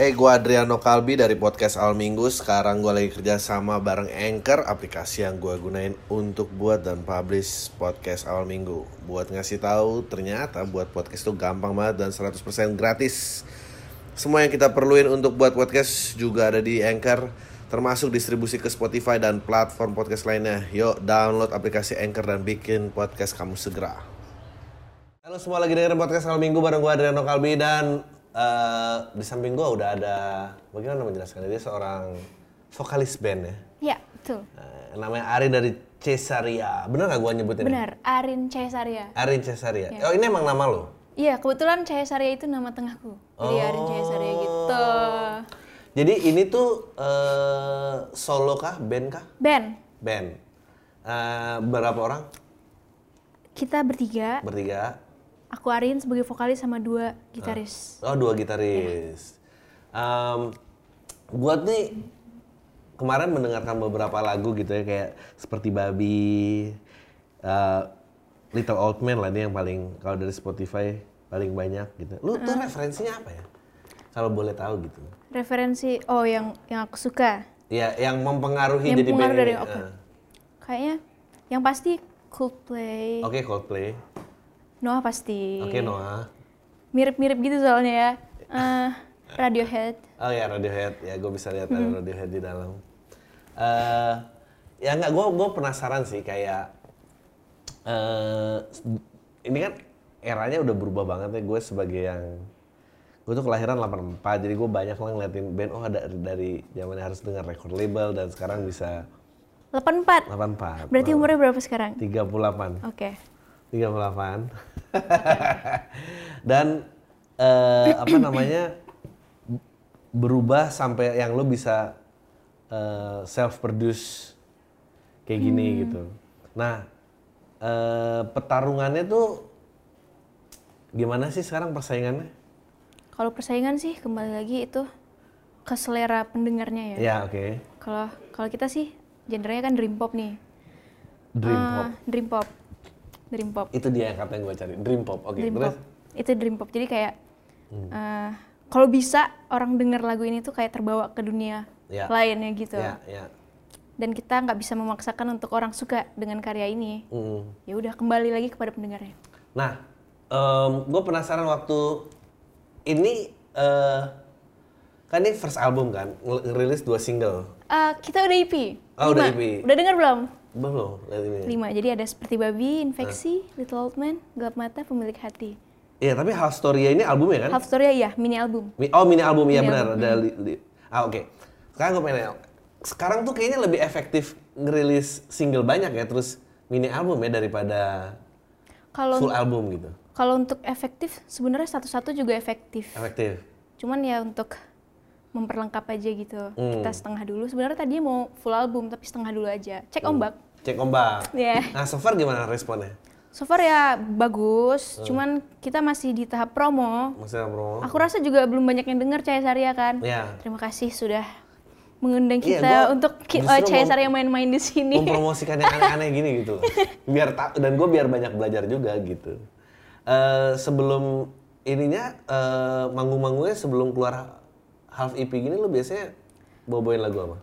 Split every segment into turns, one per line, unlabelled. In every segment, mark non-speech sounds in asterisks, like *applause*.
Hai, gue Eh, Adriano Kalbi dari podcast Al Minggu. Sekarang gue lagi kerja sama bareng Anchor, aplikasi yang gue gunain untuk buat dan publish podcast Al Minggu. Buat ngasih tahu, ternyata buat podcast itu gampang banget dan 100% gratis. Semua yang kita perluin untuk buat podcast juga ada di Anchor, termasuk distribusi ke Spotify dan platform podcast lainnya. Yuk, download aplikasi Anchor dan bikin podcast kamu segera. Halo semua lagi dengerin podcast Al Minggu bareng gue Adriano Kalbi dan eh, di samping gue udah ada bagaimana menjelaskan dia seorang vokalis band ya.
Ya, betul.
Eh, namanya Ari dari Cesaria. Bener gak gue nyebutin?
Benar, Arin Caesaria.
Ari Cesaria. Oh ini emang nama lo?
Iya, kebetulan Caesaria itu nama tengahku. Jadi Arin Caesaria gitu.
Jadi ini tuh eh, solo kah, band kah?
Ben,
Band. Eh, berapa orang?
kita bertiga.
Bertiga.
Aku Arin sebagai vokalis sama dua gitaris.
Oh dua gitaris. Em, buat nih kemarin mendengarkan beberapa lagu gitu ya kayak seperti babi, eh, Little Old Man lah ini yang paling kalau dari Spotify paling banyak gitu. Lu tuh
Eh.
referensinya apa ya? Kalau boleh tahu gitu.
Referensi oh yang yang aku suka.
Ya yang mempengaruhi
Yang
jadi
pengaruh
band
dari
ini.
oke.
Eh,
Kayaknya yang pasti Coldplay,
Oke Coldplay.
Noah pasti.
Oke Noah.
Mirip-mirip gitu soalnya ya. Eh, Radiohead.
Oh ya Radiohead, ya gue bisa lihat ada Radiohead di dalam. eh ya nggak, gue gue penasaran sih kayak eh ini kan eranya udah berubah banget ya gue sebagai yang gue tuh kelahiran 84 jadi gue banyak lah ngeliatin band oh ada dari zamannya harus dengar record label dan sekarang bisa
84.
84
Berarti umurnya berapa sekarang?
38
Oke.
38 *laughs* dan eh, apa namanya berubah sampai yang lo bisa self produce kayak gini
Hmm.
gitu nah eh, pertarungannya tuh gimana sih sekarang persaingannya
Kalau persaingan sih kembali lagi itu ke selera pendengarnya ya.
ya oke
Kalau kalau kita sih genrenya kan dream pop nih.
dream pop
Eh, dream pop. Dream pop.
itu dia yang kata yang gue cari dream pop oke
dream
terus Hmm.
pop. Itu dream pop. Jadi kayak eh, kalau bisa orang denger lagu ini tuh kayak terbawa ke dunia
Ya.
lainnya gitu.
ya ya
Dan kita nggak bisa memaksakan untuk orang suka dengan karya ini.
Mm.
Ya udah kembali lagi kepada pendengarnya.
Nah, gue penasaran waktu ini eh, kan ini first album kan, ngel- ngerilis dua single.
Eh, kita udah EP.
Oh, udah
Lima.
EP.
Udah denger belum?
Belum, lihat ini.
Lima. Jadi ada seperti babi,
Eh.
infeksi, little old man, gelap mata, pemilik hati.
Iya, tapi Half Story ini albumnya kan?
Half story ya, mini album.
Mi- Oh, mini album iya
Mini
benar. Ada li- li- ah, oke. Sekarang gue pengen nanya, sekarang tuh kayaknya lebih efektif ngerilis single banyak ya, terus mini album ya daripada
Kalau
full album gitu.
kalau untuk efektif sebenarnya satu-satu juga efektif.
Efektif.
Cuman ya untuk memperlengkap aja gitu.
Hmm.
Kita setengah dulu. Sebenarnya tadinya mau full album tapi setengah dulu aja. Cek
Hmm.
ombak.
Cek ombak.
Iya.
Nah, so far gimana responnya?
So far ya
Hmm.
bagus, cuman kita masih di tahap promo.
Maksudnya promo?
Aku rasa juga belum banyak yang dengar Cahaya Sarya kan.
Iya.
Terima kasih sudah mengundang
Iya,
kita
gua
untuk ki-
justru
eh, Cahaya
mau- Um.
Sarya main-main di sini.
*laughs* mempromosikan yang aneh-aneh gini gitu loh. biar ta- dan gue biar banyak belajar juga gitu Eh, sebelum ininya eh, manggung-manggungnya sebelum keluar half EP gini lo biasanya bawain lagu apa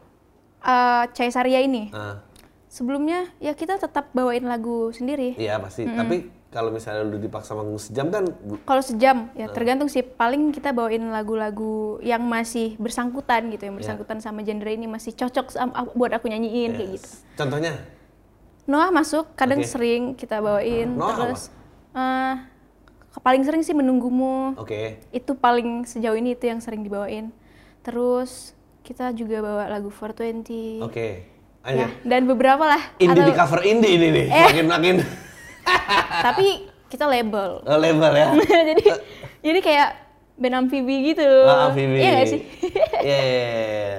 Eh, Cahaya Sarya ini.
Ah,
Sebelumnya ya kita tetap bawain lagu sendiri.
iya pasti tapi kalau misalnya lu dipaksa manggung sejam kan bu-
Kalau sejam ya tergantung sih. Paling kita bawain lagu-lagu yang masih bersangkutan gitu, yang
Iya.
bersangkutan sama genre ini masih cocok sama- aku- buat aku nyanyiin kayak gitu.
contohnya
Noah masuk kadang
Oke.
sering kita bawain
Noah apa?
terus eh, ke- paling sering sih menunggumu.
oke
Itu paling sejauh ini itu yang sering dibawain. Terus kita juga bawa lagu 420.
oke
Ya,
Anjir.
dan beberapa lah.
Oh, iya. indie di
Atau- Eh.
cover indie ini nih makin makin
tapi kita label.
*laughs* eh,
*laughs*
lebar ya
jadi jadi kayak band amfibi gitu.
Ah, Vivi.
Iya gak sih?
*laughs*
*laughs*
Iya, iya, iya.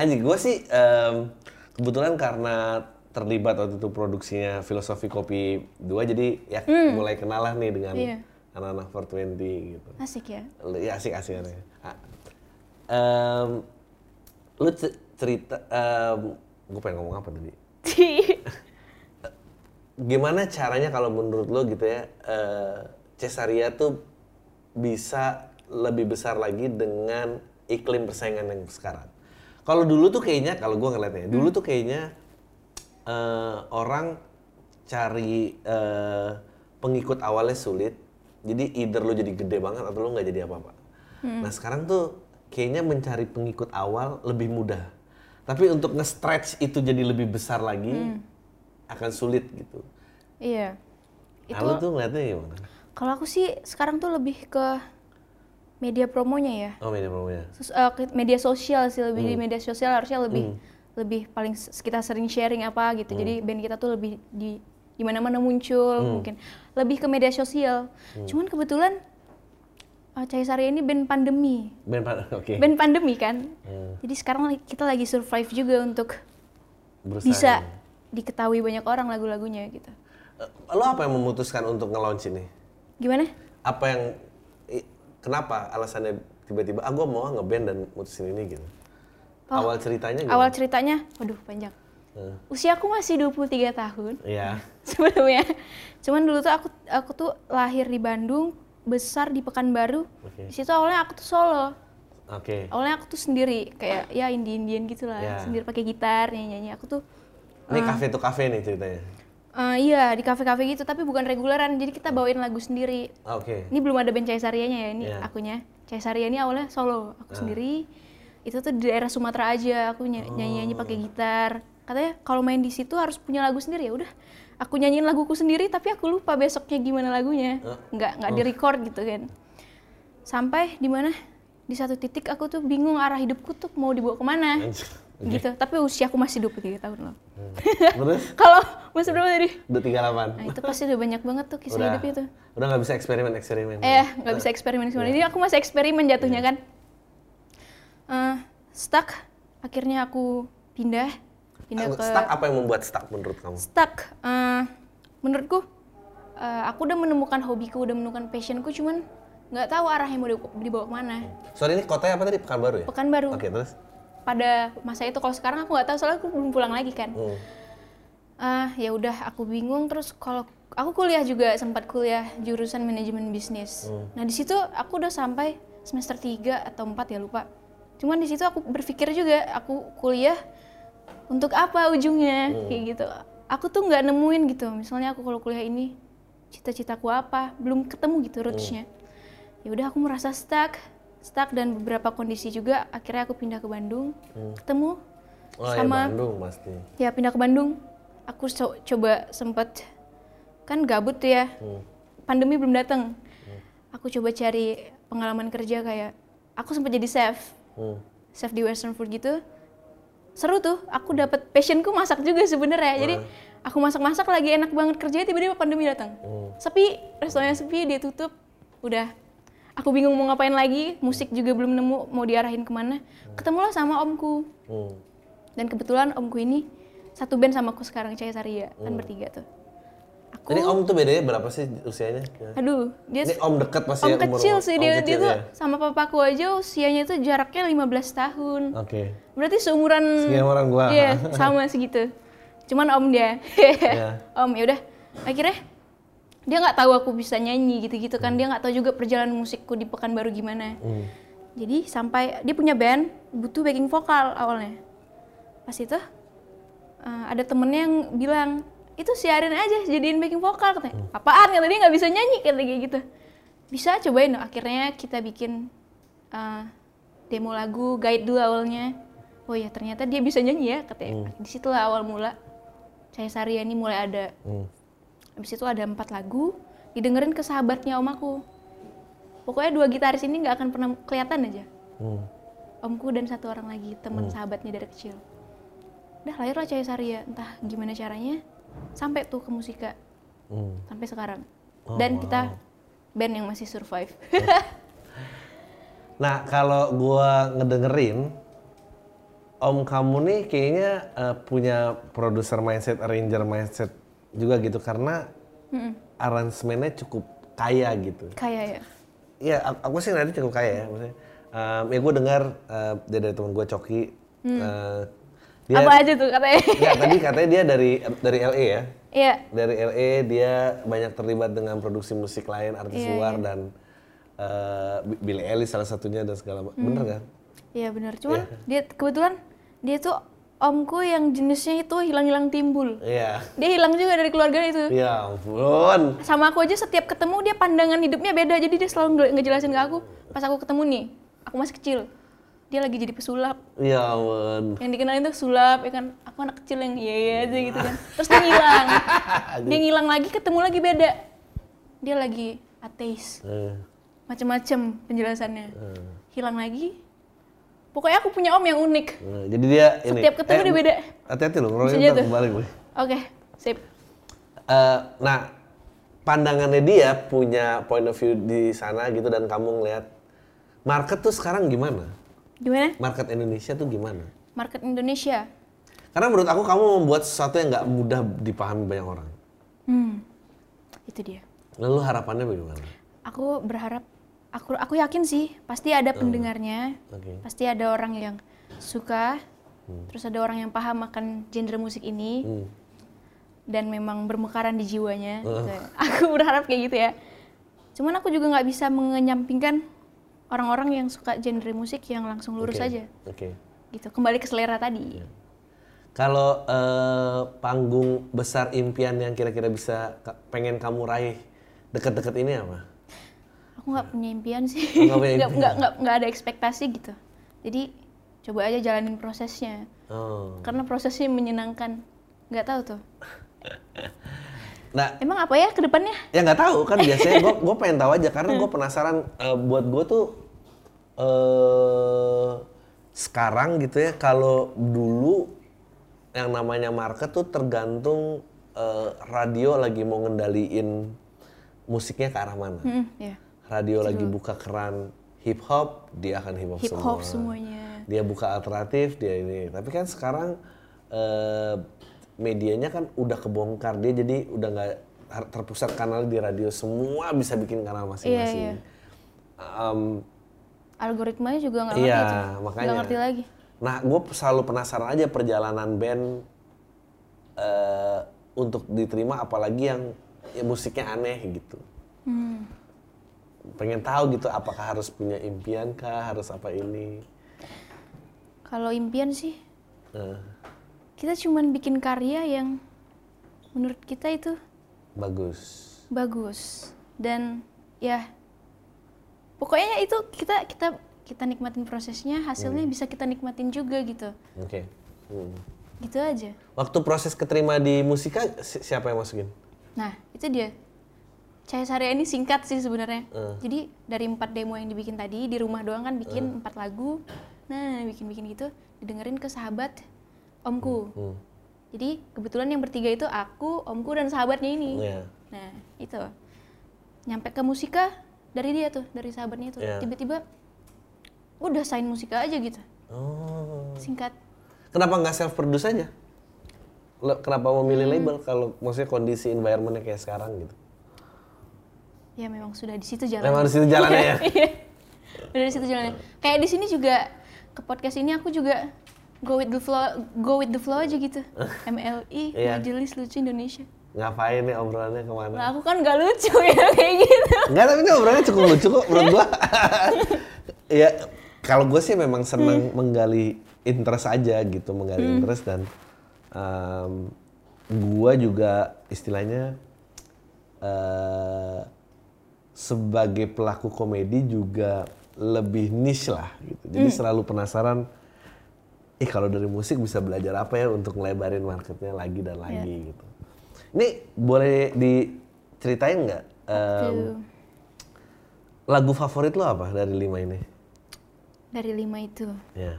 Anjing, gue sih em, kebetulan karena terlibat waktu itu produksinya Filosofi Kopi 2, jadi ya mulai kenal lah nih dengan
Hmm. Iya.
anak-anak 420 gitu.
Asik ya.
Lu- Ya asik asik asik. Ah. Em, lu ce- cerita, gue pengen ngomong apa tadi? gimana caranya kalau menurut lo gitu ya eh, Cesaria tuh bisa lebih besar lagi dengan iklim persaingan yang sekarang. Kalau dulu tuh kayaknya kalau gue ngeliatnya, dulu tuh kayaknya eh, orang cari eh, pengikut awalnya sulit. Jadi either lo jadi gede banget atau lo nggak jadi apa-apa. Nah sekarang tuh kayaknya mencari pengikut awal lebih mudah. Tapi untuk nge-stretch itu jadi lebih besar lagi akan sulit gitu.
Iya.
Nah, lo tuh ngeliatnya gimana?
Kalau aku sih sekarang tuh lebih ke media promonya ya.
Oh, media promonya.
Sos- eh, ke- media sosial sih lebih di media sosial harusnya lebih lebih paling s- kita sering sharing apa gitu. Jadi band kita tuh lebih di di mana-mana muncul mungkin lebih ke media sosial. Cuman kebetulan eh, Caisari ini band pandemi.
Band pan- *laughs* oke. Ya,
Band pandemi kan. Jadi sekarang li- kita lagi survive juga untuk
Berusaha. ya.
bisa diketahui banyak orang lagu-lagunya gitu.
Eh, Lo apa yang memutuskan untuk nge-launch ini?
Gimana?
Apa yang i- kenapa alasannya tiba-tiba ah gue mau ah nge-band dan mutusin ini gitu. Awal ceritanya gitu.
Oh, Awal ceritanya, waduh panjang. Usia aku masih 23 tahun. *laughs*
Iya.
sebelumnya. Cuman dulu tuh aku aku tuh lahir di Bandung, besar di Pekanbaru.
Oke.
Di situ awalnya aku tuh solo.
Oke.
Awalnya aku tuh sendiri kayak ya indie-indian gitu lah,
Ya.
sendiri pakai gitar nyanyi-nyanyi. Aku tuh
Ini kafe to kafe nih ceritanya.
eh, iya di kafe-kafe gitu tapi bukan reguleran. Jadi kita bawain lagu sendiri.
Ah, Oke.
*laughs* Ini belum ada band Caesarianya ya ini
Ya.
akunya. Caesaria ini awalnya solo, aku sendiri. Itu tuh di daerah Sumatera aja, aku ny- nyanyi-nyanyi pakai gitar. Katanya kalau main di situ harus punya lagu sendiri ya udah. Aku nyanyiin laguku sendiri tapi aku lupa besoknya gimana lagunya. Nggak nggak di-record gitu kan. Sampai di mana? Di satu titik aku tuh bingung arah hidupku tuh mau
Eh,
dibawa kemana. Gitu. Tapi usia aku masih 23 tahun loh.
Terus
Kalau Mas berapa tadi?
udah 38.
Nah, itu pasti udah banyak banget tuh kisah
Udah.
hidupnya tuh.
Udah nggak bisa eksperimen-eksperimen.
Eh, nggak bisa eksperimen
ya.
eksperimen. Ini aku masih eksperimen
Iya.
jatuhnya kan. Eh, stuck. Akhirnya aku pindah, pindah
Aku-
ke
Stuck apa yang membuat stuck menurut kamu?
stuck. Eh, menurutku, eh, aku udah menemukan hobiku, udah menemukan passionku, cuman nggak tahu arahnya mau di- dibawa kemana.
Sorry ini kotanya apa tadi? Pekanbaru ya?
Pekanbaru.
Oke, terus?
Pada masa itu kalau sekarang aku nggak tahu soalnya aku belum pulang lagi kan.
Hmm.
Ah, ya udah aku bingung terus kalau aku kuliah juga sempat kuliah jurusan manajemen bisnis. Nah, di situ aku udah sampai semester 3 atau 4 ya lupa. Cuman di situ aku berpikir juga aku kuliah untuk apa ujungnya kayak gitu. Aku tuh nggak nemuin gitu. Misalnya aku kalau kuliah ini cita-citaku apa, belum ketemu gitu rootsnya. Ya udah aku merasa stuck, stuck dan beberapa kondisi juga akhirnya aku pindah ke Bandung. Ketemu
Oh, ya
sama
Bandung pasti.
Ya pindah ke Bandung. Aku so- coba sempet kan gabut tuh ya.
Hmm,
Pandemi belum datang. Aku coba cari pengalaman kerja kayak aku sempat jadi chef,
Hmm.
chef di western food gitu. Seru tuh. Aku dapat passionku masak juga sebenarnya. Jadi aku masak-masak lagi enak banget kerjanya tiba-tiba pandemi datang.
hmm,
Sepi, restorannya sepi, dia tutup. Udah. Aku bingung mau ngapain lagi, musik juga belum nemu mau diarahin kemana. Ketemulah sama omku.
Hmm.
Dan kebetulan omku ini satu band sama aku sekarang, Cahaya Saria,
Oh.
kan bertiga tuh. Aku,
Ini om tuh bedanya berapa sih usianya?
aduh, dia
Ini om deket pasti
om
ya umur-
kecil sih,
om
dia, dia
kecil
tuh
ya?
sama papaku aja usianya tuh jaraknya 15 tahun.
Oke.
Berarti seumuran...
Segini orang gua.
Hmm. Iya, sama segitu. Cuman om dia.
Iya.
*laughs* Om, ya udah. Akhirnya dia nggak tahu aku bisa nyanyi gitu-gitu
Hmm.
kan. Dia nggak tahu juga perjalanan musikku di Pekanbaru gimana. Jadi sampai dia punya band, butuh backing vokal awalnya. Pas itu eh, ada temennya yang bilang itu siarin aja jadiin backing vokal katanya. Apaan katanya dia nggak bisa nyanyi katanya kayak gitu. Bisa cobain dong. Akhirnya kita bikin eh, demo lagu, guide dulu awalnya. Oh ya ternyata dia bisa nyanyi ya katanya. Disitulah awal mula saya Sariani mulai ada.
Hmm.
Habis itu ada empat lagu didengerin ke sahabatnya om aku. Pokoknya dua gitaris ini nggak akan pernah kelihatan aja.
Hmm.
Omku dan satu orang lagi teman sahabatnya dari kecil. Udah lahirlah Cahaya Saria, entah gimana caranya sampai tuh ke musika
Hmm. Oh,
sampai sekarang. dan kita band yang masih survive.
Iya. Nah, kalau gua ngedengerin Om kamu nih kayaknya eh, punya produser mindset, arranger mindset juga gitu karena
Hmm.
aransemennya cukup kaya gitu.
*laughs* Kayak ya.
Iya, a- aku sih nanti cukup kaya ya maksudnya. Em, ya gue dengar eh, dia dari teman gue Coki. eh, dia *laughs*
Hmm. Apa aja tuh katanya? *laughs*
ya, tadi katanya dia dari dari LA ya.
Iya.
Dari LA dia banyak terlibat dengan produksi musik
Iya,
lain, artis luar dan eh, Billy Eilish salah satunya dan segala macam. Bener kan?
Iya benar. Cuman dia kebetulan dia tuh omku yang jenisnya itu hilang-hilang timbul.
Iya.
Dia hilang juga dari keluarga itu.
Ya ampun.
Sama aku aja setiap ketemu dia pandangan hidupnya beda. Jadi dia selalu ngel- ngejelasin ke aku. Pas aku ketemu nih, aku masih kecil. Dia lagi jadi pesulap.
Ya ampun.
Yang dikenalin tuh sulap, ya kan? Aku anak kecil yang iya iya aja gitu kan. Terus dia ngilang. dia ngilang lagi, ketemu lagi beda. Dia lagi ateis.
Eh,
Macem-macem penjelasannya. Hilang lagi. Pokoknya aku punya om yang unik.
eh, Jadi dia ini. Eh,
Setiap ketemu dia beda.
Hati-hati loh, kalau
Bisa
kita
jatuh.
kembali gue.
Oke, sip.
Eh, nah, pandangannya dia punya point of view di sana gitu dan kamu ngeliat market tuh sekarang gimana?
Gimana?
Market Indonesia tuh gimana?
Market Indonesia.
Karena menurut aku kamu membuat sesuatu yang nggak mudah dipahami banyak orang.
Hmm. Itu dia.
Lalu harapannya bagaimana?
Aku berharap aku aku yakin sih pasti ada pendengarnya.
Oke.
Pasti ada orang yang suka. Terus ada orang yang paham akan genre musik ini
Hmm.
dan memang bermekaran di jiwanya. gitu. *laughs* Aku berharap kayak gitu ya. Cuman aku juga nggak bisa menyampingkan orang-orang yang suka genre musik yang langsung lurus
Oke, Iya.
aja.
Oke.
Gitu. Kembali ke selera tadi.
Kalau eh, panggung besar impian yang kira-kira bisa ka- pengen kamu raih deket-deket ini apa?
Aku nggak punya impian sih.
Iya. Nggak punya
*laughs* Nggak
impian.
nggak nggak- nggak ada ekspektasi gitu. Jadi coba aja jalanin prosesnya.
Oh.
Karena prosesnya menyenangkan. Nggak tahu tuh.
Nah,
Emang apa ya ke depannya?
ya nggak tahu kan biasanya gue gue pengen tahu aja karena
Hmm.
gue penasaran eh, buat gue tuh eh sekarang gitu ya kalau dulu yang namanya market tuh tergantung eh, radio lagi mau ngendaliin musiknya ke arah mana.
Hmm, ya.
Radio lagi buka keran hip hop, dia akan hip hop
Hip hop
semua.
semuanya.
Dia buka alternatif, dia ini. Tapi kan sekarang eh, medianya kan udah kebongkar dia jadi udah nggak har- terpusat kanal di radio semua bisa bikin kanal masing-masing.
Iya, iya.
Em,
Algoritmanya juga nggak ngerti
Iya,
itu.
makanya.
Nggak ngerti lagi.
Nah, gue selalu penasaran aja perjalanan band eh, untuk diterima, apalagi yang ya, musiknya aneh gitu.
Hmm.
Pengen tahu gitu, apakah harus punya impian kah, harus apa ini?
Kalau impian sih,
Eh,
kita cuman bikin karya yang menurut kita itu
bagus.
bagus dan ya pokoknya itu kita kita kita nikmatin prosesnya hasilnya
Hmm.
bisa kita nikmatin juga gitu
Oke. Hmm.
gitu aja
Waktu proses keterima di musika, si- siapa yang masukin?
nah itu dia Cahaya Sarya ini singkat sih sebenarnya
Hmm.
jadi dari empat demo yang dibikin tadi di rumah doang kan
Eh.
bikin empat lagu nah bikin bikin gitu didengerin ke sahabat omku
Hmm.
jadi kebetulan yang bertiga itu aku omku dan sahabatnya ini
Ya.
Nah, itu. Nyampe ke musika dari dia tuh, dari sahabatnya itu.
Iya.
Tiba-tiba udah sign musika aja gitu.
Oh.
Singkat.
Kenapa nggak self produce aja? Le- Kenapa memilih label kalau maksudnya kondisi environmentnya kayak sekarang gitu?
Ya memang sudah di situ jalan.
Emang harus itu jalannya ya?
*laughs* Udah di Iya. situ jalannya. Kayak di sini juga ke podcast ini aku juga go with the flow, go with the flow aja
*laughs*
gitu. MLI,
Iya.
Majelis Lucu Indonesia.
ngapain nih obrolannya kemana?
Nah, aku kan gak lucu *laughs* ya kayak gitu.
Enggak, tapi ini obrolannya cukup lucu kok menurut gua. ya, kalau gue sih memang senang menggali interest aja gitu, menggali interest dan em, gua juga istilahnya eh sebagai pelaku komedi juga lebih niche lah gitu. Jadi selalu penasaran ih kalau dari musik bisa belajar apa ya untuk ngelebarin marketnya lagi dan lagi gitu. Ini boleh diceritain nggak em,
Tuh.
lagu favorit lo apa dari lima ini?
Dari lima itu.
Ya.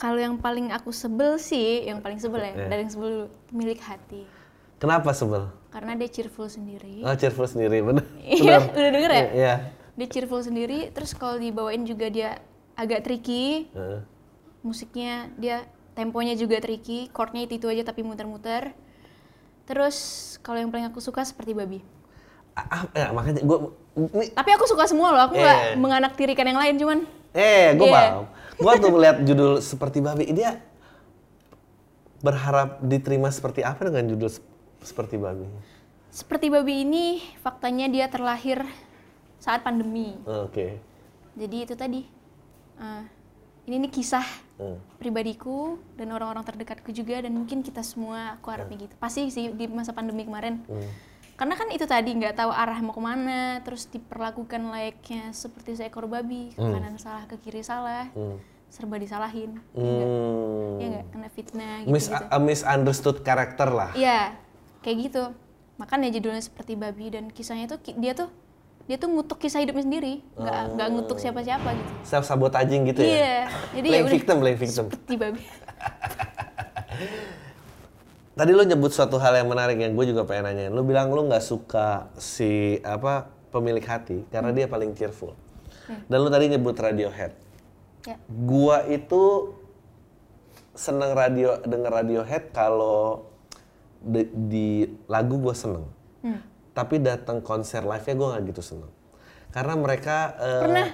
Kalau yang paling aku sebel sih, yang paling sebel ya,
Iya.
dari yang sebel dulu, milik hati.
Kenapa sebel?
Karena dia cheerful sendiri.
Oh, cheerful
*laughs*
sendiri, bener.
Iya, udah denger ya?
Iya.
Dia cheerful sendiri, terus kalau dibawain juga dia agak tricky.
Heeh.
Musiknya dia temponya juga tricky, chordnya itu, itu aja tapi muter-muter. Terus kalau yang paling aku suka seperti babi.
Ah, ah, eh, makanya gue, ini
Tapi aku suka semua loh, aku
Iya.
nggak menganaktirikan yang lain cuman
Eh, gue
Iya.
paham. Gue tuh melihat judul seperti babi, dia berharap diterima seperti apa dengan judul sep- seperti babi?
seperti babi ini faktanya dia terlahir saat pandemi.
Oke.
Jadi itu tadi eh, ini ini kisah
Hmm.
pribadiku dan orang-orang terdekatku juga dan mungkin kita semua aku
Ya.
harapnya gitu pasti sih di masa pandemi kemarin
Hmm.
karena kan itu tadi nggak tahu arah mau kemana terus diperlakukan layaknya seperti seekor babi ke
Hmm.
kanan salah ke kiri salah serba disalahin ya nggak?
Hmm.
ya nggak kena fitnah gitu,
Mis a misunderstood karakter lah.
Iya, kayak gitu. Makanya judulnya seperti babi dan kisahnya tuh ki- dia tuh dia tuh ngutuk kisah hidupnya sendiri, nggak nggak ngutuk siapa-siapa gitu.
Self sabotaging Oh. gitu ya.
Iya, jadi ya
Playing
udah
victim, playing victim.
seperti babi.
Tadi lo nyebut suatu hal yang menarik yang gue juga pengen nanyain. Lo bilang lo nggak suka si apa pemilik hati karena dia paling cheerful. Dan lo tadi nyebut Radiohead.
Ya.
Gua itu seneng radio denger Radiohead kalau di, di lagu gue seneng. Tapi datang konser live-nya gue nggak gitu seneng. Karena mereka eh,
Pernah?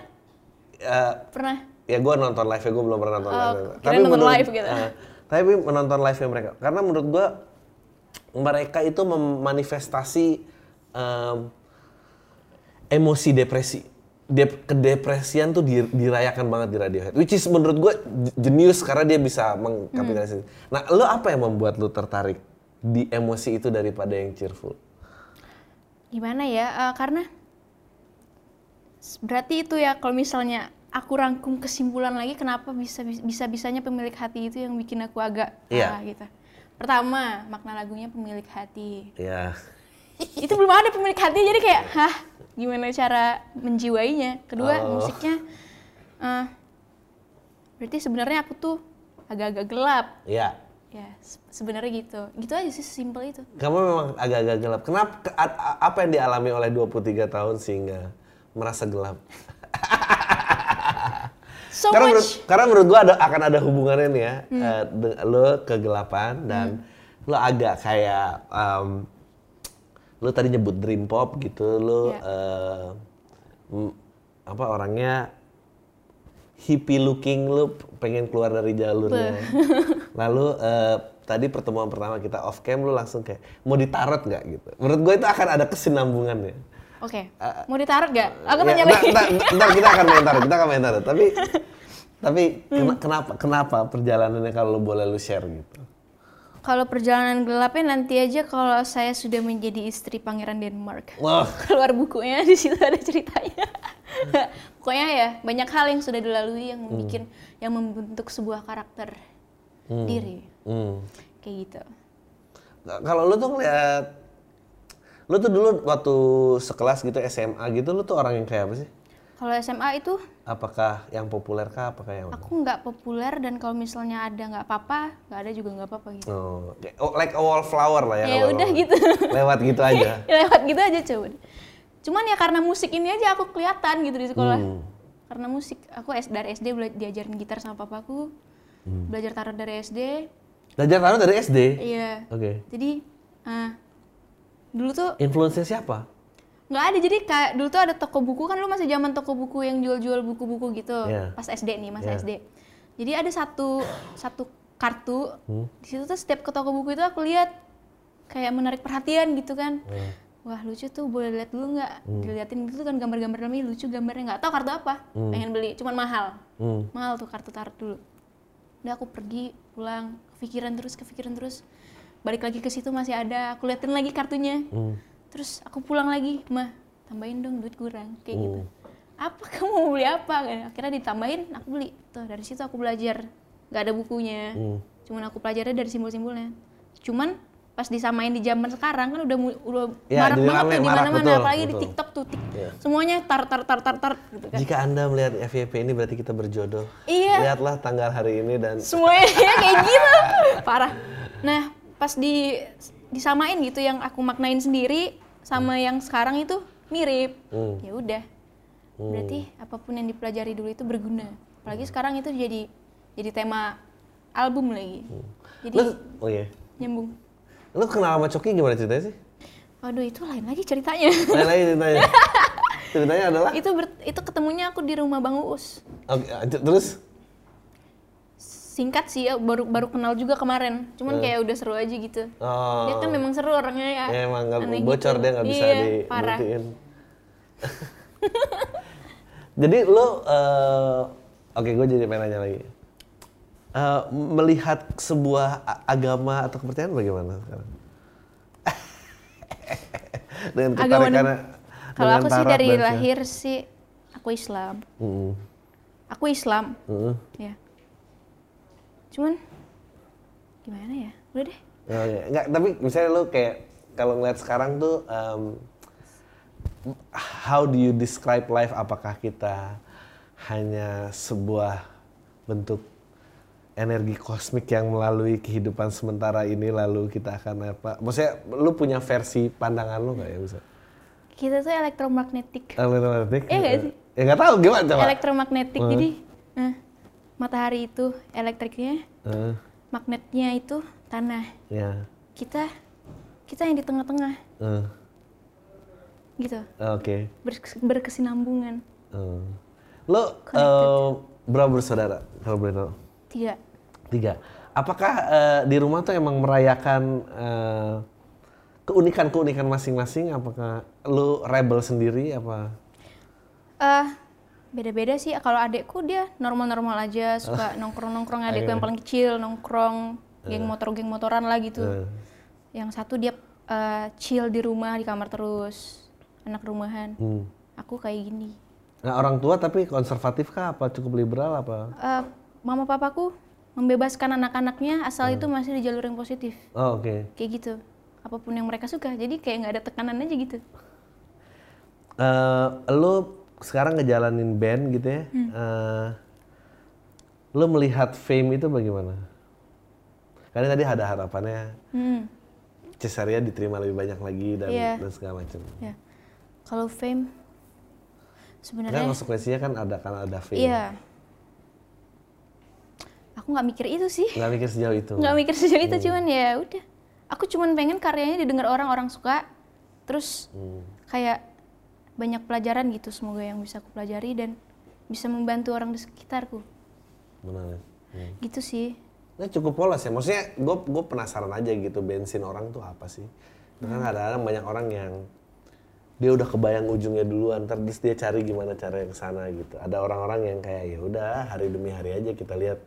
eh,
Pernah
ya gue nonton live gue belum pernah nonton
Oh,
live
kirain nonton live gitu.
eh, tapi menonton live nya mereka karena menurut gue mereka itu memanifestasi em, emosi depresi Dep- kedepresian tuh di- dirayakan banget di Radiohead which is menurut gue jenius karena dia bisa mengkapitalisasi
Hmm.
nah lo apa yang membuat lo tertarik di emosi itu daripada yang cheerful
gimana ya? eh, karena s- berarti itu ya kalau misalnya aku rangkum kesimpulan lagi kenapa bisa bisa bisanya pemilik hati itu yang bikin aku agak
Iya.
ah, gitu. Pertama, makna lagunya pemilik hati.
ya
itu belum ada pemilik hati jadi kayak hah gimana cara menjiwainya kedua
Oh.
musiknya eh, berarti sebenarnya aku tuh agak-agak gelap
ya
ya se- sebenarnya gitu gitu aja sih simpel itu
Kamu memang agak-agak gelap. Kenapa? ke- a- a- Apa yang dialami oleh 23 tahun sehingga merasa gelap?
so
karena, menurut,
much
karena menurut gua ada, akan ada hubungannya nih ya. eh, de- lo kegelapan dan
Hmm.
lo agak kayak em, lo tadi nyebut dream pop gitu. Lo
Iya.
eh, m- apa orangnya hippie looking lo p- pengen keluar dari jalurnya. *laughs* Lalu eh, tadi pertemuan pertama kita off cam lo langsung kayak mau ditarot nggak gitu. Menurut gue itu akan ada kesinambungannya.
oke mau ditaruh gak aku
Ya,
tanya
ntar-
lagi
ntar- ntar kita akan main tarot, kita akan main tarot.
*laughs*
Tapi tapi
Hmm.
kena- kenapa kenapa perjalanannya kalau lo boleh lu share gitu?
kalau perjalanan gelapnya nanti aja kalau saya sudah menjadi istri pangeran Denmark *laughs*
Wah,
keluar bukunya di situ ada ceritanya *laughs* pokoknya ya banyak hal yang sudah dilalui yang
Hmm.
bikin yang membentuk sebuah karakter diri
hmm.
kayak gitu
Nah, Kalau lu tuh ngeliat lu tuh dulu waktu sekelas gitu SMA gitu lu tuh orang yang kayak apa sih?
kalau SMA itu
Apakah yang populer kah? Apakah yang
aku nggak populer dan kalau misalnya ada nggak apa-apa nggak ada juga nggak apa-apa gitu
Oh, kayak- oh, like a wallflower lah ya.
Ya
kalau-
udah
*laughs*
gitu.
Lewat
*laughs*
gitu aja.
Ya, lewat gitu aja coba cuman ya karena musik ini aja aku kelihatan gitu di sekolah
Hmm.
karena musik aku S- dari SD bela- diajarin gitar sama papaku
Hmm.
belajar tarot dari
*clears throat*
SD
Belajar tarot dari SD.
iya
Oke.
jadi eh, dulu tuh
Influence-nya siapa?
Nggak ada, jadi kayak dulu tuh ada toko buku kan lu masih zaman toko buku yang jual-jual buku-buku gitu.
Iya.
Pas SD nih, masa
Iya.
SD. Jadi ada satu satu kartu.
Hmm.
Di situ tuh setiap ke toko buku itu aku lihat kayak menarik perhatian gitu kan.
Hmm.
Wah, lucu tuh, boleh lihat dulu nggak? Diliatin gitu kan gambar-gambar dalamnya lucu gambarnya nggak tahu kartu apa. Pengen beli, cuman mahal.
Hmm.
Mahal tuh kartu tarot dulu. Udah aku pergi, pulang, kepikiran terus, kepikiran terus. Balik lagi ke situ masih ada, aku liatin lagi kartunya.
Hmm.
Terus aku pulang lagi, mah tambahin dong duit kurang, kayak gitu.
Oh.
Apa *laughs* kamu mau beli apa? Akhirnya ditambahin, aku beli. Tuh dari situ aku belajar, nggak ada bukunya.
Oh.
Cuman aku pelajarnya dari simbol-simbolnya. Cuman pas disamain di zaman sekarang kan udah, mu- udah
Ya,
marak
jadi
banget
rame,
tuh di
marak,
mana-mana,
betul,
apalagi di
betul.
TikTok tuh, tik-
Iya.
semuanya tar tar tar tar tar gitu kan.
Jika Anda melihat FYP ini berarti kita berjodoh.
Iya.
Lihatlah tanggal hari ini dan
semuanya *laughs* kayak gitu parah nah pas di disamain gitu yang aku maknain sendiri sama yang sekarang itu mirip ya udah berarti apapun yang dipelajari dulu itu berguna apalagi sekarang itu jadi jadi tema album lagi jadi
lu oh iya.
nyambung
Lu kenal sama Coki gimana ceritanya sih?
waduh itu lain lagi ceritanya
Lain lagi
*laughs*
ceritanya. ceritanya adalah
itu ber- itu ketemunya aku di rumah bang uus
Oke, lanjut, terus
singkat sih ya, baru baru kenal juga kemarin cuman kayak udah seru aja gitu
oh,
dia kan memang seru orangnya ya
ya emang nggak
aneh
bocor
gitu.
dia nggak bisa
Iya, parah
*laughs* dibuktiin. Jadi lu eh, Oke, gue jadi pengen nanya lagi. Eh, melihat sebuah a- agama atau kepercayaan bagaimana sekarang? *laughs* dengan
Agama
ketarikannya,
Kalau
dengan
aku sih
tarot
dari
dan Hmm, segala-
lahir sih aku Islam.
Mm-mm.
Aku Islam.
Mm-mm.
Ya. Cuman gimana ya? Udah deh.
Oke, ya. Nggak, tapi misalnya lu kayak kalau ngeliat sekarang tuh em, how do you describe life? Apakah kita hanya sebuah bentuk energi kosmik yang melalui kehidupan sementara ini lalu kita akan apa? Maksudnya lu punya versi pandangan lu nggak ya bisa?
Kita tuh elektromagnetik.
Elektromagnetik?
Iya nggak sih?
Ya nggak tahu gimana coba.
Elektromagnetik.
Hmm.
Jadi eh, matahari itu elektriknya,
Eh,
magnetnya itu tanah.
ya.
Kita kita yang di tengah-tengah
Eh,
gitu.
Oke.
Berkes- berkesinambungan.
Eh. Lu
Connected.
eh, berapa bersaudara kalau boleh tahu?
Tidak.
Tiga. Apakah eh, di rumah tuh emang merayakan eh, keunikan-keunikan masing-masing? Apakah lu rebel sendiri apa?
Eh, beda-beda sih. Kalau adekku dia normal-normal aja, suka nongkrong-nongkrong adekku yang paling kecil, nongkrong geng motor, geng motoran lah gitu.
Eh.
Yang satu dia eh, chill di rumah, di kamar terus, anak rumahan.
Hmm.
Aku kayak gini.
Nah, orang tua tapi konservatif kah apa cukup liberal apa?
Eh, mama papaku membebaskan anak-anaknya asal itu masih di jalur yang positif.
Oh, oke.
Kayak gitu. Apapun yang mereka suka. Jadi kayak nggak ada tekanan aja gitu.
Eh, lu sekarang ngejalanin band gitu ya.
Hmm.
Eh, lu melihat fame itu bagaimana? Karena tadi ada harapannya
Hmm.
Cesaria diterima lebih banyak lagi dan
Iya.
dan segala macam.
Ya. Kalau fame
Kan
sebenarnya
konsekuensinya kan ada kan ada fame.
Iya. Aku nggak mikir itu sih.
Nggak mikir sejauh itu.
Nggak mikir sejauh
Iya.
itu cuman ya udah. Aku cuman pengen karyanya didengar orang orang suka. Terus
Hmm.
kayak banyak pelajaran gitu semoga yang bisa aku pelajari dan bisa membantu orang di sekitarku.
Menarik. Hmm.
Gitu sih.
Nah, cukup polos ya. Maksudnya gue gue penasaran aja gitu bensin orang tuh apa sih? Itu kan
Hmm.
kadang-kadang banyak orang yang dia udah kebayang ujungnya duluan, ntar terus dia cari gimana caranya ke sana gitu. Ada orang-orang yang kayak ya udah hari demi hari aja kita lihat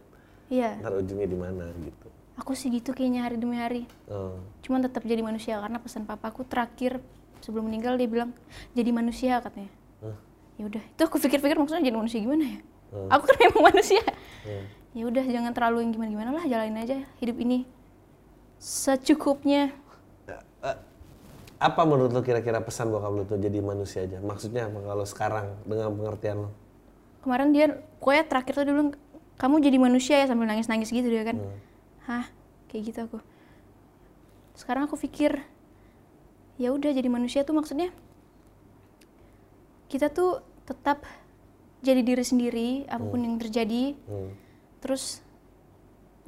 Iya.
ntar ujungnya di mana gitu.
Aku sih gitu kayaknya hari demi hari.
Oh,
Cuman tetap jadi manusia karena pesan papaku terakhir sebelum meninggal dia bilang jadi manusia katanya.
Hah?
Ya udah, itu aku pikir-pikir maksudnya jadi manusia gimana ya? Aku kan memang manusia.
ya.
ya udah jangan terlalu yang gimana gimana lah jalanin aja hidup ini secukupnya
Apa menurut lo kira-kira pesan bokap lo tuh jadi manusia aja? Maksudnya apa kalau sekarang dengan pengertian lo?
kemarin dia pokoknya terakhir tuh dulu kamu jadi manusia ya sambil nangis nangis gitu dia kan hah kayak gitu aku sekarang aku pikir ya udah jadi manusia tuh maksudnya kita tuh tetap jadi diri sendiri apapun yang terjadi
Hmm,
terus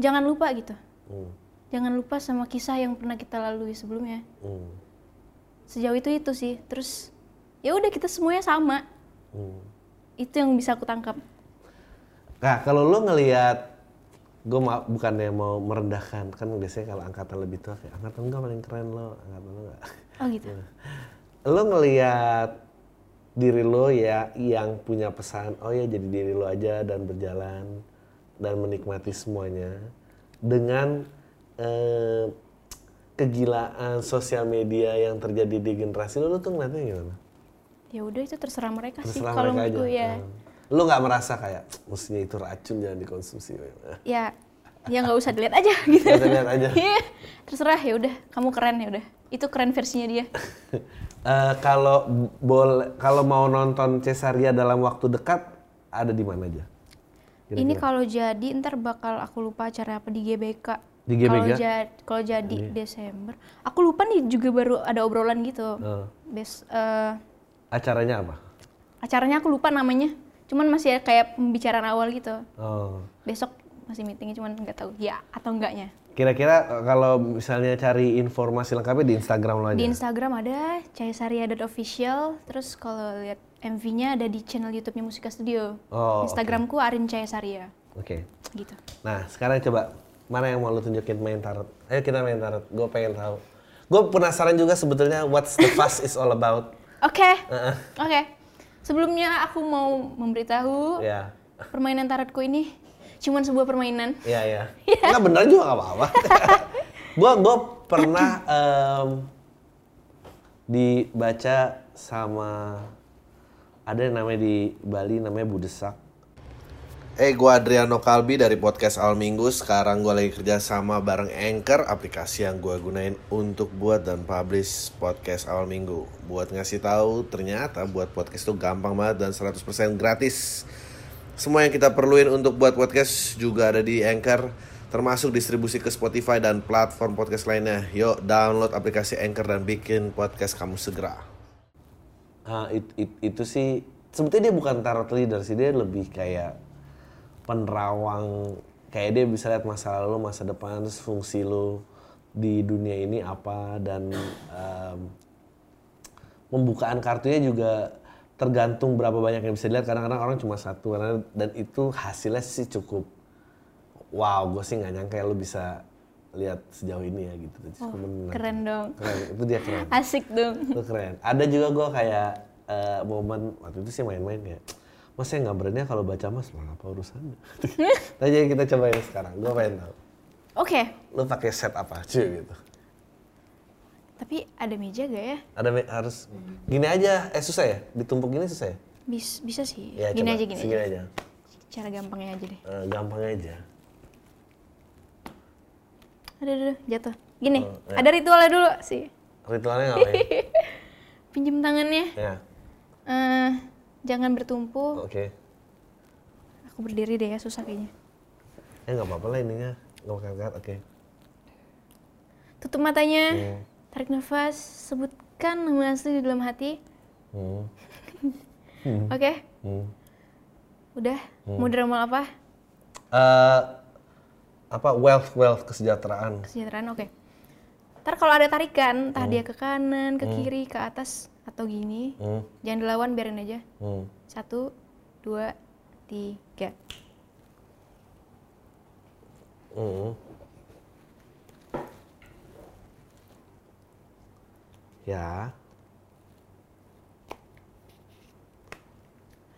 jangan lupa gitu
hmm,
jangan lupa sama kisah yang pernah kita lalui sebelumnya
hmm,
sejauh itu itu sih terus ya udah kita semuanya sama
hmm.
itu yang bisa aku tangkap
Nah, kalau lu ngelihat gue ma- bukannya mau merendahkan kan biasanya kalau angkatan lebih tua kayak angkatan gue paling keren lo angkatan lo nggak *laughs*
oh gitu
Hmm. lo ngelihat diri lo ya yang punya pesan oh ya jadi diri lo aja dan berjalan dan menikmati semuanya dengan eh, kegilaan sosial media yang terjadi di generasi lo, lo tuh ngeliatnya gimana?
ya udah itu terserah mereka sih
Terserah
kalau
mereka aja.
menurutku ya
Hmm. Lo nggak merasa kayak "Cuk, mestinya itu racun jangan dikonsumsi.
ya ya nggak usah dilihat aja *laughs* gitu
Nggak usah dilihat aja.
Iya, terserah ya udah kamu keren ya udah itu keren versinya dia
Eh, kalau boleh kalau mau nonton Cesaria dalam waktu dekat ada di mana aja?
ini kalau jadi ntar bakal aku lupa acara apa di GBK
Di GBK?
kalau
Iya.
ja- kalau jadi Desember aku lupa nih juga baru ada obrolan gitu
Eh,
Bes- eh,
acaranya apa?
acaranya aku lupa namanya cuman masih ada kayak pembicaraan awal gitu
Oh.
besok masih meetingnya cuman nggak tahu ya atau enggaknya
Kira-kira eh, kalau misalnya cari informasi lengkapnya di Instagram lo aja.
di Instagram ada Official terus kalau lihat MV-nya ada di channel YouTube-nya Musika Studio
Oh,
Instagramku Arin Caesaria
Oke.
gitu
Nah sekarang coba mana yang mau lo tunjukin main tarot? Ayo kita main tarot. Gue pengen tahu. Gue penasaran juga sebetulnya what's the fuss is all about.
oke oke sebelumnya aku mau memberitahu
Ya.
permainan tarotku ini cuman sebuah permainan.
Iya, iya. Enggak bener juga gak apa-apa. gua gua pernah em, dibaca sama ada yang namanya di Bali namanya Budesak.
Eh, gue Adriano Kalbi dari podcast Al Minggu. Sekarang gue lagi kerja sama bareng Anchor, aplikasi yang gue gunain untuk buat dan publish podcast Al Minggu. Buat ngasih tahu, ternyata buat podcast itu gampang banget dan 100% gratis. Semua yang kita perluin untuk buat podcast juga ada di Anchor, termasuk distribusi ke Spotify dan platform podcast lainnya. Yuk, download aplikasi Anchor dan bikin podcast kamu segera.
Ah, it- it- itu sih sebetulnya dia bukan tarot leader sih, dia lebih kayak penerawang kayak dia bisa lihat masa lalu, masa depan, terus fungsi lu di dunia ini apa dan em, pembukaan kartunya juga tergantung berapa banyak yang bisa dilihat kadang-kadang orang cuma satu karena- dan itu hasilnya sih cukup wow gue sih nggak nyangka ya lu bisa lihat sejauh ini ya gitu Cuman
Keren dong.
keren itu dia keren
Asik dong.
itu keren ada juga gue kayak eh, momen waktu itu sih main-main kayak mas saya nggak berani ya kalau baca mas lo apa urusannya *laughs* nah jadi kita cobain sekarang gue pengen tahu
Oke,
lo pakai set apa cuy gitu
tapi ada meja gak ya?
ada me- harus gini aja eh susah ya ditumpuk gini susah ya,
Bis- bisa sih.
ya
gini
coba,
aja gini.
segini
aja.
aja.
Cara gampangnya aja deh.
Eh, gampang aja
Aduh, aduh, aduh, jatuh. Gini,
Oh, iya.
ada ritualnya dulu sih.
ritualnya
*laughs*
ngapain
Pinjem tangannya.
ya
Eh, jangan bertumpu.
oke
Aku berdiri deh ya, susah kayaknya.
ya nggak apa-apa lah ininya nggak bakal oke
Tutup matanya.
Hmm.
Tarik nafas, sebutkan nama asli di dalam hati.
Hmm,
Oke,
hmm.
udah. Mau drama apa?
Eh, apa wealth wealth kesejahteraan
Kesejahteraan, oke. Ntar kalau ada tarikan, entah dia ke kanan, ke kiri, ke atas, atau gini.
Hmm,
Jangan dilawan, biarin aja.
hmm.
Satu, dua, tiga.
Mm. Ya,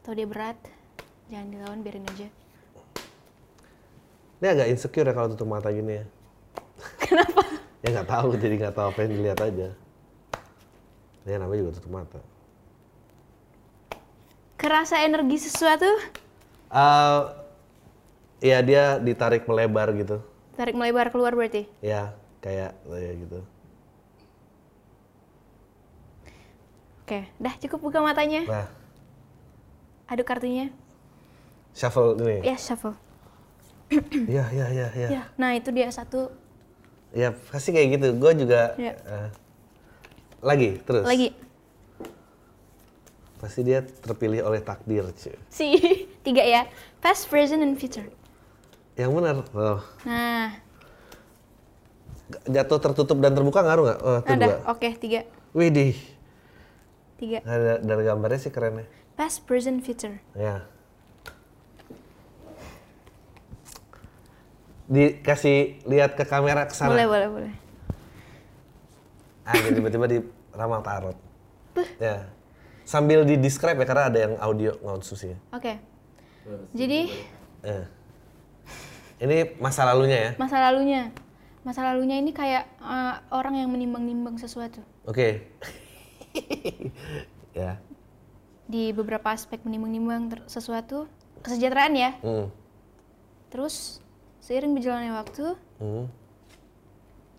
Atau dia berat, jangan dilawan, biarin aja.
ini agak insecure ya kalau tutup mata gini ya. Kenapa? *laughs* ya nggak tahu, jadi nggak tahu apa yang dilihat aja. Ya namanya juga tutup mata.
Kerasa energi sesuatu,
Eh, Iya dia ditarik melebar gitu.
tarik melebar keluar berarti.
Ya kayak kayak gitu.
Oke, dah cukup buka matanya.
Nah,
Aduk kartunya.
shuffle ini.
Ya, shuffle.
Iya iya iya iya.
Ya, nah itu dia satu.
Ya pasti kayak gitu. Gue juga.
Iya.
eh, lagi terus.
Lagi. *laughs*
Pasti dia terpilih oleh takdir cuy.
Si, tiga ya. Past, present, and future.
Yang benar. Loh.
Nah,
Jatuh tertutup dan terbuka ngaruh nggak? Oh, itu dua.
ada. Oke, tiga.
Widih.
Tiga.
Ada, dari gambarnya sih keren ya.
Past, present, future.
Ya. Dikasih lihat ke kamera ke
Boleh,
sana.
boleh, boleh.
Ah, jadi tiba-tiba di ramal tarot. Ya. Sambil di describe ya karena ada yang audio nggak susi ya.
Oke. Jadi,
Eh. Ini masa lalunya ya.
masa lalunya. Masa lalunya ini kayak eh, orang yang menimbang-nimbang sesuatu.
Oke. *laughs* ya.
Di beberapa aspek menimbang-nimbang ter- sesuatu. Kesejahteraan ya.
Hmm.
Terus, seiring berjalannya waktu,
Hmm.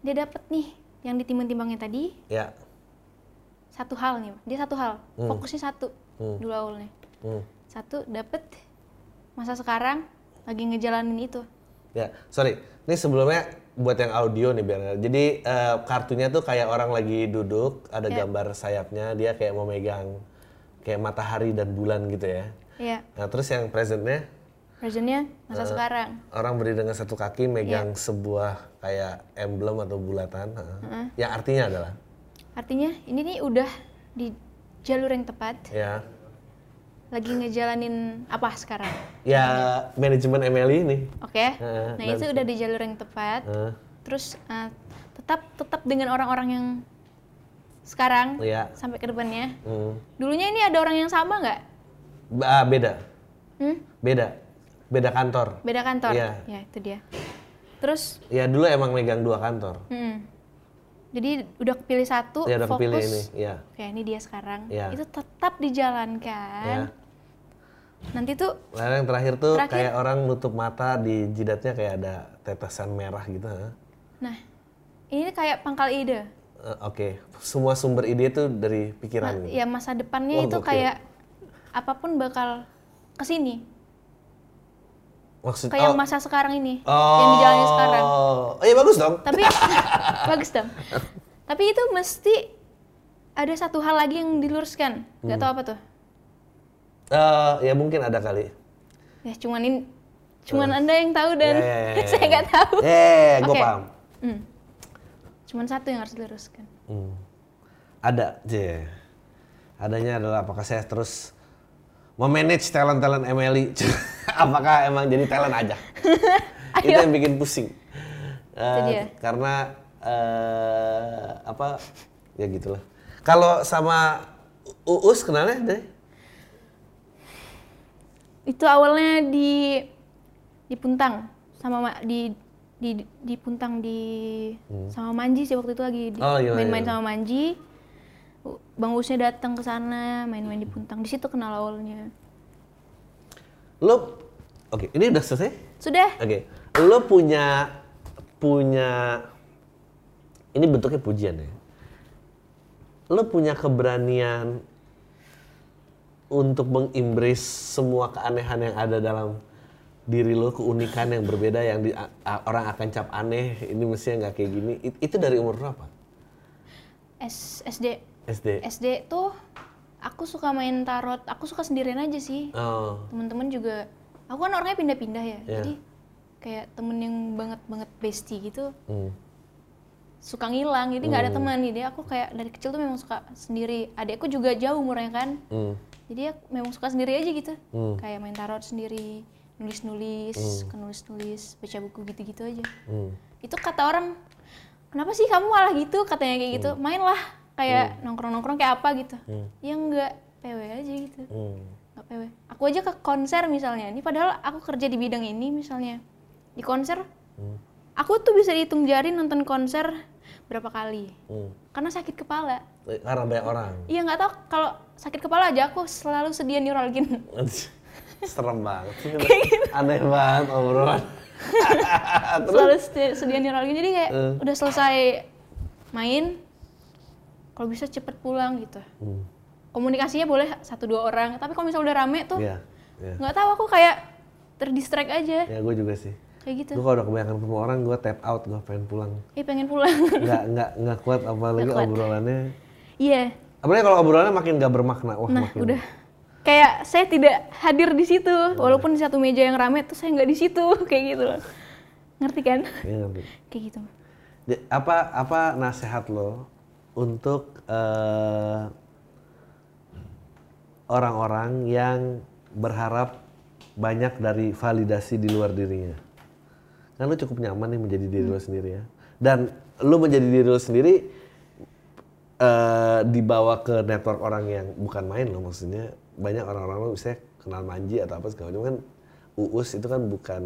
dia dapat nih yang ditimbang-timbangnya tadi
Ya.
satu hal nih dia satu hal fokusnya satu dulu awalnya
Hmm.
satu dapet masa sekarang lagi ngejalanin itu
Ya, sorry. Ini sebelumnya buat yang audio nih biar. Jadi eh, kartunya tuh kayak orang lagi duduk, ada gambar sayapnya, dia kayak mau megang kayak matahari dan bulan gitu ya.
ya
Nah, terus yang presentnya Eh.
versionnya masa sekarang
orang berdiri dengan satu kaki megang sebuah kayak emblem atau bulatan, heeh. yang artinya adalah
artinya ini nih udah di jalur yang tepat
ya
lagi ngejalanin apa sekarang
ya manajemen MLI ini.
oke
Heeh,
nah itu udah di jalur yang tepat
Heeh.
terus eh, tetap tetap dengan orang-orang yang sekarang
Iya.
sampai ke depannya
Hmm.
dulunya ini ada orang yang sama nggak
Ba- beda.
hmm?
Beda. Beda kantor.
Beda kantor.
Iya.
Ya, itu dia. Terus
Ya dulu emang megang dua kantor.
mm, jadi udah kepilih satu,
Ya udah
fokus.
kepilih ini, ya.
Kayak ini dia sekarang.
Iya.
Itu tetap dijalankan.
Ya.
Nanti tuh
Lalu yang terakhir tuh
Terakhir.
kayak orang nutup mata di jidatnya kayak ada tetesan merah gitu. ha?
nah, ini kayak pangkal ide.
Eh, Oke, semua sumber ide tuh dari pikiran. gitu.
Ya masa depannya
Wah,
itu
gokil.
kayak apapun bakal kesini.
Maksud
Kayak
oh,
masa sekarang ini
oh,
yang dijalani sekarang.
Oh, iya bagus dong.
Tapi *laughs* bagus
*laughs*
dong. Tapi itu mesti ada satu hal lagi yang diluruskan. Gak
Hmm.
tau apa tuh.
Eh, ya mungkin ada kali.
Ya cuman ini, cuman anda yang tahu dan
Ya, ya, ya,
*laughs* saya
ya.
nggak tahu.
Eh, gue
Oke.
paham.
Hmm. Cuman satu yang harus diluruskan.
Hmm. Ada, je. Adanya adalah apakah saya terus memanage talent-talent Emily? *laughs* apakah emang jadi talent aja? Itu yang bikin pusing. Eh,
dia.
karena eh, apa? Ya gitulah. Kalau sama U- Uus kenalnya deh.
Itu awalnya di di Puntang sama Ma- di di di Puntang di sama Manji sih waktu itu lagi di-
Hmm. Oh, iya,
main-main
iya.
sama Manji. U- Bang Usnya datang ke sana, main-main di Puntang. Di situ kenal awalnya.
Lo Oke, ini udah selesai?
Sudah.
Oke. Lo punya punya ini bentuknya pujian ya. Lo punya keberanian untuk mengimbris semua keanehan yang ada dalam diri lo, keunikan yang berbeda yang di- a- a- orang akan cap aneh, ini mestinya nggak kayak gini. It- itu dari umur berapa?
S- SD
SD.
SD tuh aku suka main tarot, aku suka sendirian aja sih.
Oh,
Temen-temen juga, aku kan orangnya pindah-pindah ya,
Iya.
jadi kayak temen yang banget-banget bestie gitu
hmm.
suka ngilang, jadi nggak ada teman. Jadi aku kayak dari kecil tuh memang suka sendiri. Adikku juga jauh umurnya kan,
hmm.
jadi aku memang suka sendiri aja gitu.
Hmm.
Kayak main tarot sendiri, nulis-nulis, nulis-nulis, baca buku gitu-gitu aja.
Hmm.
Itu kata orang, kenapa sih kamu malah gitu? Katanya kayak gitu, mainlah kayak nongkrong-nongkrong kayak apa gitu. Ya enggak, PW aja gitu.
Hmm.
Nggak PW. Aku aja ke konser misalnya. Ini padahal aku kerja di bidang ini misalnya. Di konser, aku tuh bisa dihitung jari nonton konser berapa kali.
Hmm.
Karena sakit kepala.
Eh, Karena banyak orang. *laughs*
Iya nggak tahu kalau sakit kepala aja aku selalu sedia
*laughs*
neuralgin.
Serem banget sih. Aneh banget obrolan. Ah,
selalu sedia, sedia neuralgin. Jadi kayak
Eh.
udah selesai main, kalau bisa cepet pulang gitu.
Hmm.
Komunikasinya boleh satu dua orang, tapi kalau misalnya udah rame tuh
Iya, iya.
nggak tahu aku kayak terdistract aja
Ya gue juga sih.
kayak gitu.
Gue kalau udah kebanyakan sama orang, gue tap out, gue pengen pulang.
Eh pengen pulang. *laughs*
Nggak, nggak, nggak kuat apalagi
Nggak kuat.
obrolannya.
Iya.
Apalagi kalau obrolannya makin gak bermakna. Wah,
Nah,
makin.
udah. Kayak saya tidak hadir di situ,
Hmm.
walaupun di satu meja yang rame tuh saya nggak di situ, *laughs* kayak gitu loh. Ngerti kan?
Iya, ngerti.
Kayak gitu.
Ja- apa apa nasihat lo untuk eh, orang-orang yang berharap banyak dari validasi di luar dirinya? Kan lo cukup nyaman nih menjadi diri lo sendiri ya. Dan lo menjadi diri lo sendiri eh, dibawa ke network orang yang bukan main lo maksudnya banyak orang-orang lo bisa kenal manji atau apa segala macam kan uus itu kan bukan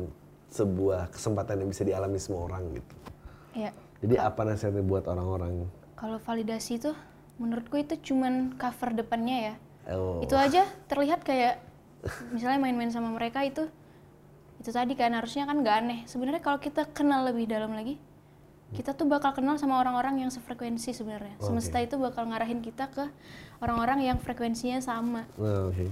sebuah kesempatan yang bisa dialami semua orang gitu.
Ya,
Jadi apa nasihatnya buat orang-orang?
kalau validasi itu menurutku itu cuman cover depannya ya.
Oh,
Itu aja terlihat kayak misalnya main-main sama mereka itu itu tadi kan harusnya kan nggak aneh. Sebenarnya kalau kita kenal lebih dalam lagi, kita tuh bakal kenal sama orang-orang yang sefrekuensi sebenarnya. Semesta itu bakal ngarahin kita ke orang-orang yang frekuensinya sama.
nah, oke.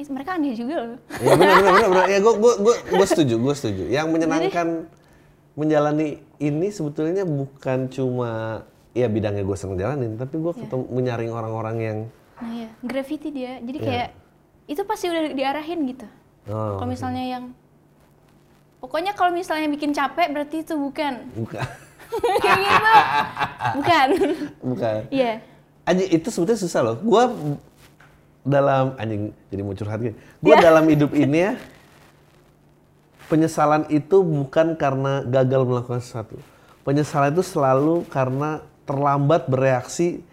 Ih, mereka aneh juga loh.
Ya benar benar benar, benar. Ya gue gue gue setuju, gue setuju. Yang menyenangkan menjalani ini sebetulnya bukan cuma ya bidangnya gue seneng jalanin, tapi gue ketemu menyaring orang-orang yang
Nah ya, gravity dia. Jadi kayak itu pasti udah diarahin gitu.
oh,
Kalau misalnya yang pokoknya kalau misalnya bikin capek berarti itu bukan.
*laughs* bukan
*laughs* Kayak gitu. Bukan. *laughs*
bukan.
Iya.
Anjing itu sebetulnya susah loh. Gua dalam anjing jadi mau curhat gini. Gua dalam hidup ini ya penyesalan itu bukan karena gagal melakukan sesuatu. Penyesalan itu selalu karena terlambat bereaksi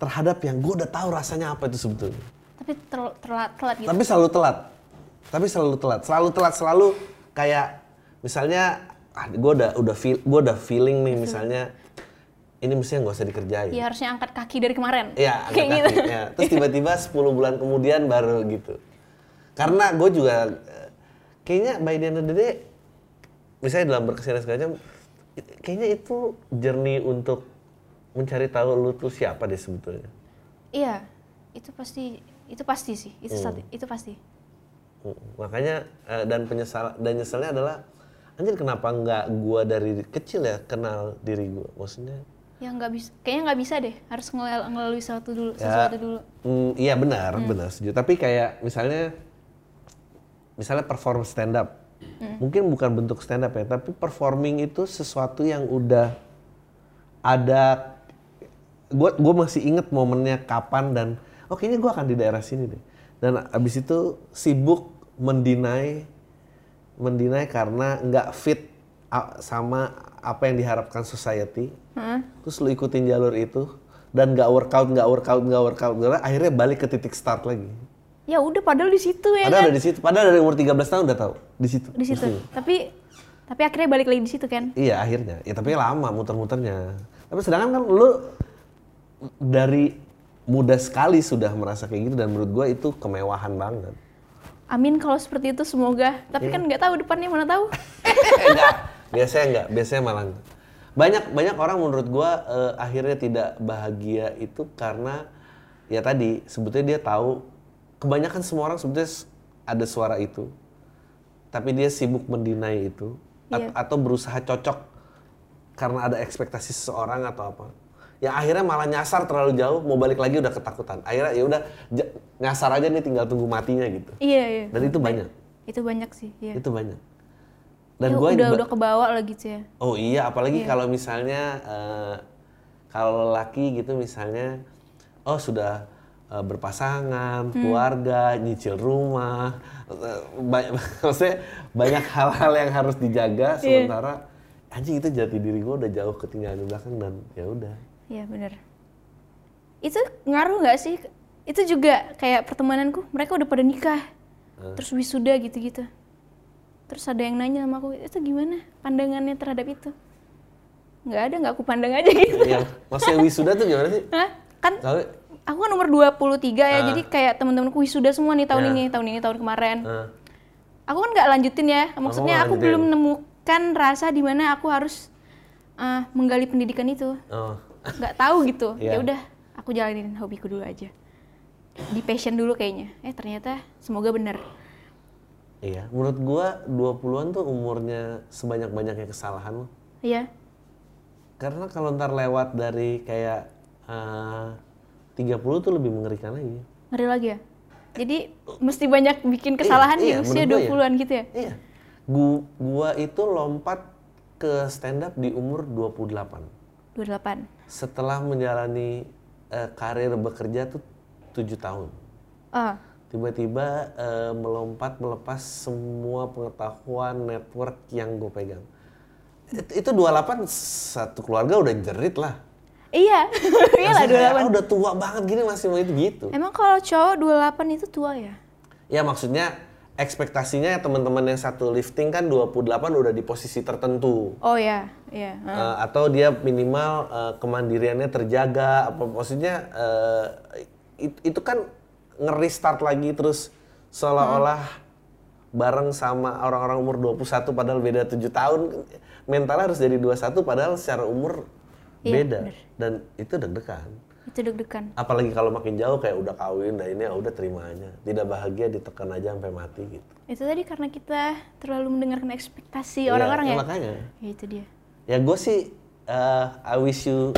terhadap yang gue udah tahu rasanya apa itu sebetulnya.
Tapi terl- terla- telat gitu.
Tapi selalu telat. Tapi selalu telat. Selalu telat selalu kayak misalnya ah, gue udah udah feel gue udah feeling nih misalnya ini mestinya nggak usah dikerjain.
Ya harusnya angkat kaki dari kemarin. *laughs*
Iya,
kayak
angkat
gitu.
kaki, ya. Terus tiba-tiba 10 bulan kemudian baru gitu. Karena gue juga eh, kayaknya by the end of the day, misalnya dalam berkesenian segala macam, it- kayaknya itu journey untuk mencari tahu lu tuh siapa deh sebetulnya.
Iya, itu pasti itu pasti sih, itu
Hmm.
satu, itu pasti.
Mm, Makanya eh, dan penyesal dan nyeselnya adalah anjir kenapa nggak gua dari kecil ya kenal diri gua. Maksudnya
Ya nggak bisa, kayaknya nggak bisa deh. Harus ngelal- ngelalui sesuatu dulu,
Ya,
sesuatu dulu.
mm, iya benar, benar setuju. Tapi kayak misalnya misalnya perform stand up. Mungkin bukan bentuk stand up ya, tapi performing itu sesuatu yang udah ada gue gue masih inget momennya kapan dan oh kayaknya gue akan di daerah sini deh dan abis itu sibuk mendinai mendinai karena nggak fit a- sama apa yang diharapkan society terus lu ikutin jalur itu dan nggak workout nggak workout nggak workout nggak- akhirnya balik ke titik start lagi
Ya udah, padahal di situ
padahal
ya
Hmm.
kan.
udah di situ padahal dari umur 13 tahun udah tahu di situ
Di situ. Tapi tapi akhirnya balik lagi di situ kan.
Iya akhirnya. Ya tapi lama muter-muternya. Tapi sedangkan kan lu dari muda sekali sudah merasa kayak gitu dan menurut gua itu kemewahan banget.
Amin kalau seperti itu semoga. Tapi
Hmm.
kan nggak tahu depannya mana tahu.
*laughs* enggak, biasanya enggak, biasanya malah enggak. Banyak banyak orang menurut gua eh, akhirnya tidak bahagia itu karena ya tadi sebetulnya dia tahu kebanyakan semua orang sebetulnya s- ada suara itu. Tapi dia sibuk mendinai itu at-
Iya.
atau berusaha cocok karena ada ekspektasi seseorang atau apa. Ya akhirnya malah nyasar terlalu jauh, mau balik lagi udah ketakutan. Akhirnya ya udah j- nyasar aja nih tinggal tunggu matinya gitu.
iya, iya.
Dan itu banyak,
Itu banyak sih, iya.
itu banyak.
Ya,
gua
udah
ba-
udah kebawa lah gitu ya.
Oh iya, apalagi kalau misalnya eh, kalau laki gitu misalnya, oh sudah eh, berpasangan, keluarga, nyicil rumah, eh, ba- *laughs* maksudnya banyak hal-hal yang harus dijaga. Sementara anjing itu jati diri gue udah jauh ketinggalan di belakang dan ya udah.
Iya bener. Itu ngaruh nggak sih? Itu juga kayak pertemananku, mereka udah pada nikah, terus wisuda gitu-gitu. Terus ada yang nanya sama aku, itu gimana pandangannya terhadap itu? Nggak ada, nggak aku pandang aja
*laughs*
gitu.
Yang Iya. maksudnya wisuda tuh gimana sih?
Hah? Kan
Kalau
aku kan nomor 23 ya,
Ah.
jadi kayak temen-temenku wisuda semua nih tahun
Ya.
ini, tahun ini, tahun kemarin.
eh,
Aku kan nggak lanjutin ya, maksudnya aku
lanjutin.
belum menemukan rasa di mana aku harus eh, menggali pendidikan itu
oh,
nggak tahu gitu
Iya.
ya udah aku jalanin hobiku dulu aja di passion dulu kayaknya eh ternyata semoga bener
iya. Menurut gue 20-an tuh umurnya sebanyak-banyaknya kesalahan loh.
ya
Karena kalau ntar lewat dari kayak eh, 30 tuh lebih mengerikan lagi.
ngeri lagi ya jadi mesti banyak bikin kesalahan
iya,
di usia
menurut gua ya.
20-an gitu ya
Iya. Gua, gua itu lompat ke stand up di umur 28.
28
Setelah menjalani eh, karir bekerja tuh 7 tahun.
oh
Tiba-tiba eh, melompat melepas semua pengetahuan network yang gue pegang. It- itu 28 satu keluarga udah jerit lah.
iya *laughs* iya lah
Maksudnya kayak, "Ah,
28
udah tua banget gini masih mau itu gitu.
emang kalau cowok 28 itu tua ya
Ya maksudnya ekspektasinya ya teman-teman yang satu lifting kan 28 udah di posisi tertentu.
oh ya iya
Eh, atau dia minimal eh, kemandiriannya terjaga apa maksudnya eh, it- itu kan ngeri start lagi terus seolah-olah bareng sama orang-orang umur 21 padahal beda 7 tahun mental harus jadi 21 padahal secara umur
Iya,
beda dan itu deg-degan
itu deg-degan
apalagi kalau makin jauh kayak udah kawin dah ini ya udah terima aja tidak bahagia ditekan aja sampai mati gitu
itu tadi karena kita terlalu mendengarkan ekspektasi
Iya,
orang-orang ya,
makanya
ya itu dia
ya gue sih eh, I wish you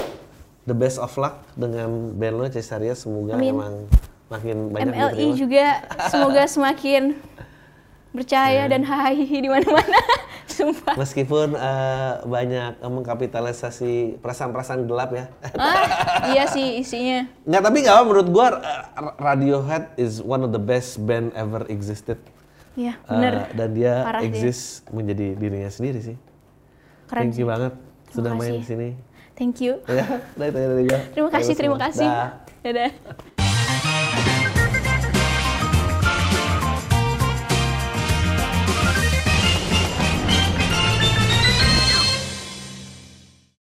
the best of luck dengan band lo Cesaria semoga
Amin.
emang makin banyak
MLI
diterima.
juga semoga semakin bercahaya
Iya.
dan hahihi di mana-mana. *laughs* Sumpah.
meskipun eh, banyak eh, mengkapitalisasi perasaan-perasaan gelap ya *laughs*
Ah, iya sih isinya.
nggak tapi nggak apa menurut gue Radiohead is one of the best band ever existed Eh,
Iya, bener.
dan dia
Parah sih.
exist menjadi dirinya sendiri sih
Keren
Thank you banget sudah main
kasih.
di sini. *laughs*
Thank you.
Ya, dari- dari- dari gua.
Terima kasih,
Dari gua
terima
semua.
kasih.
Dah.
Dadah.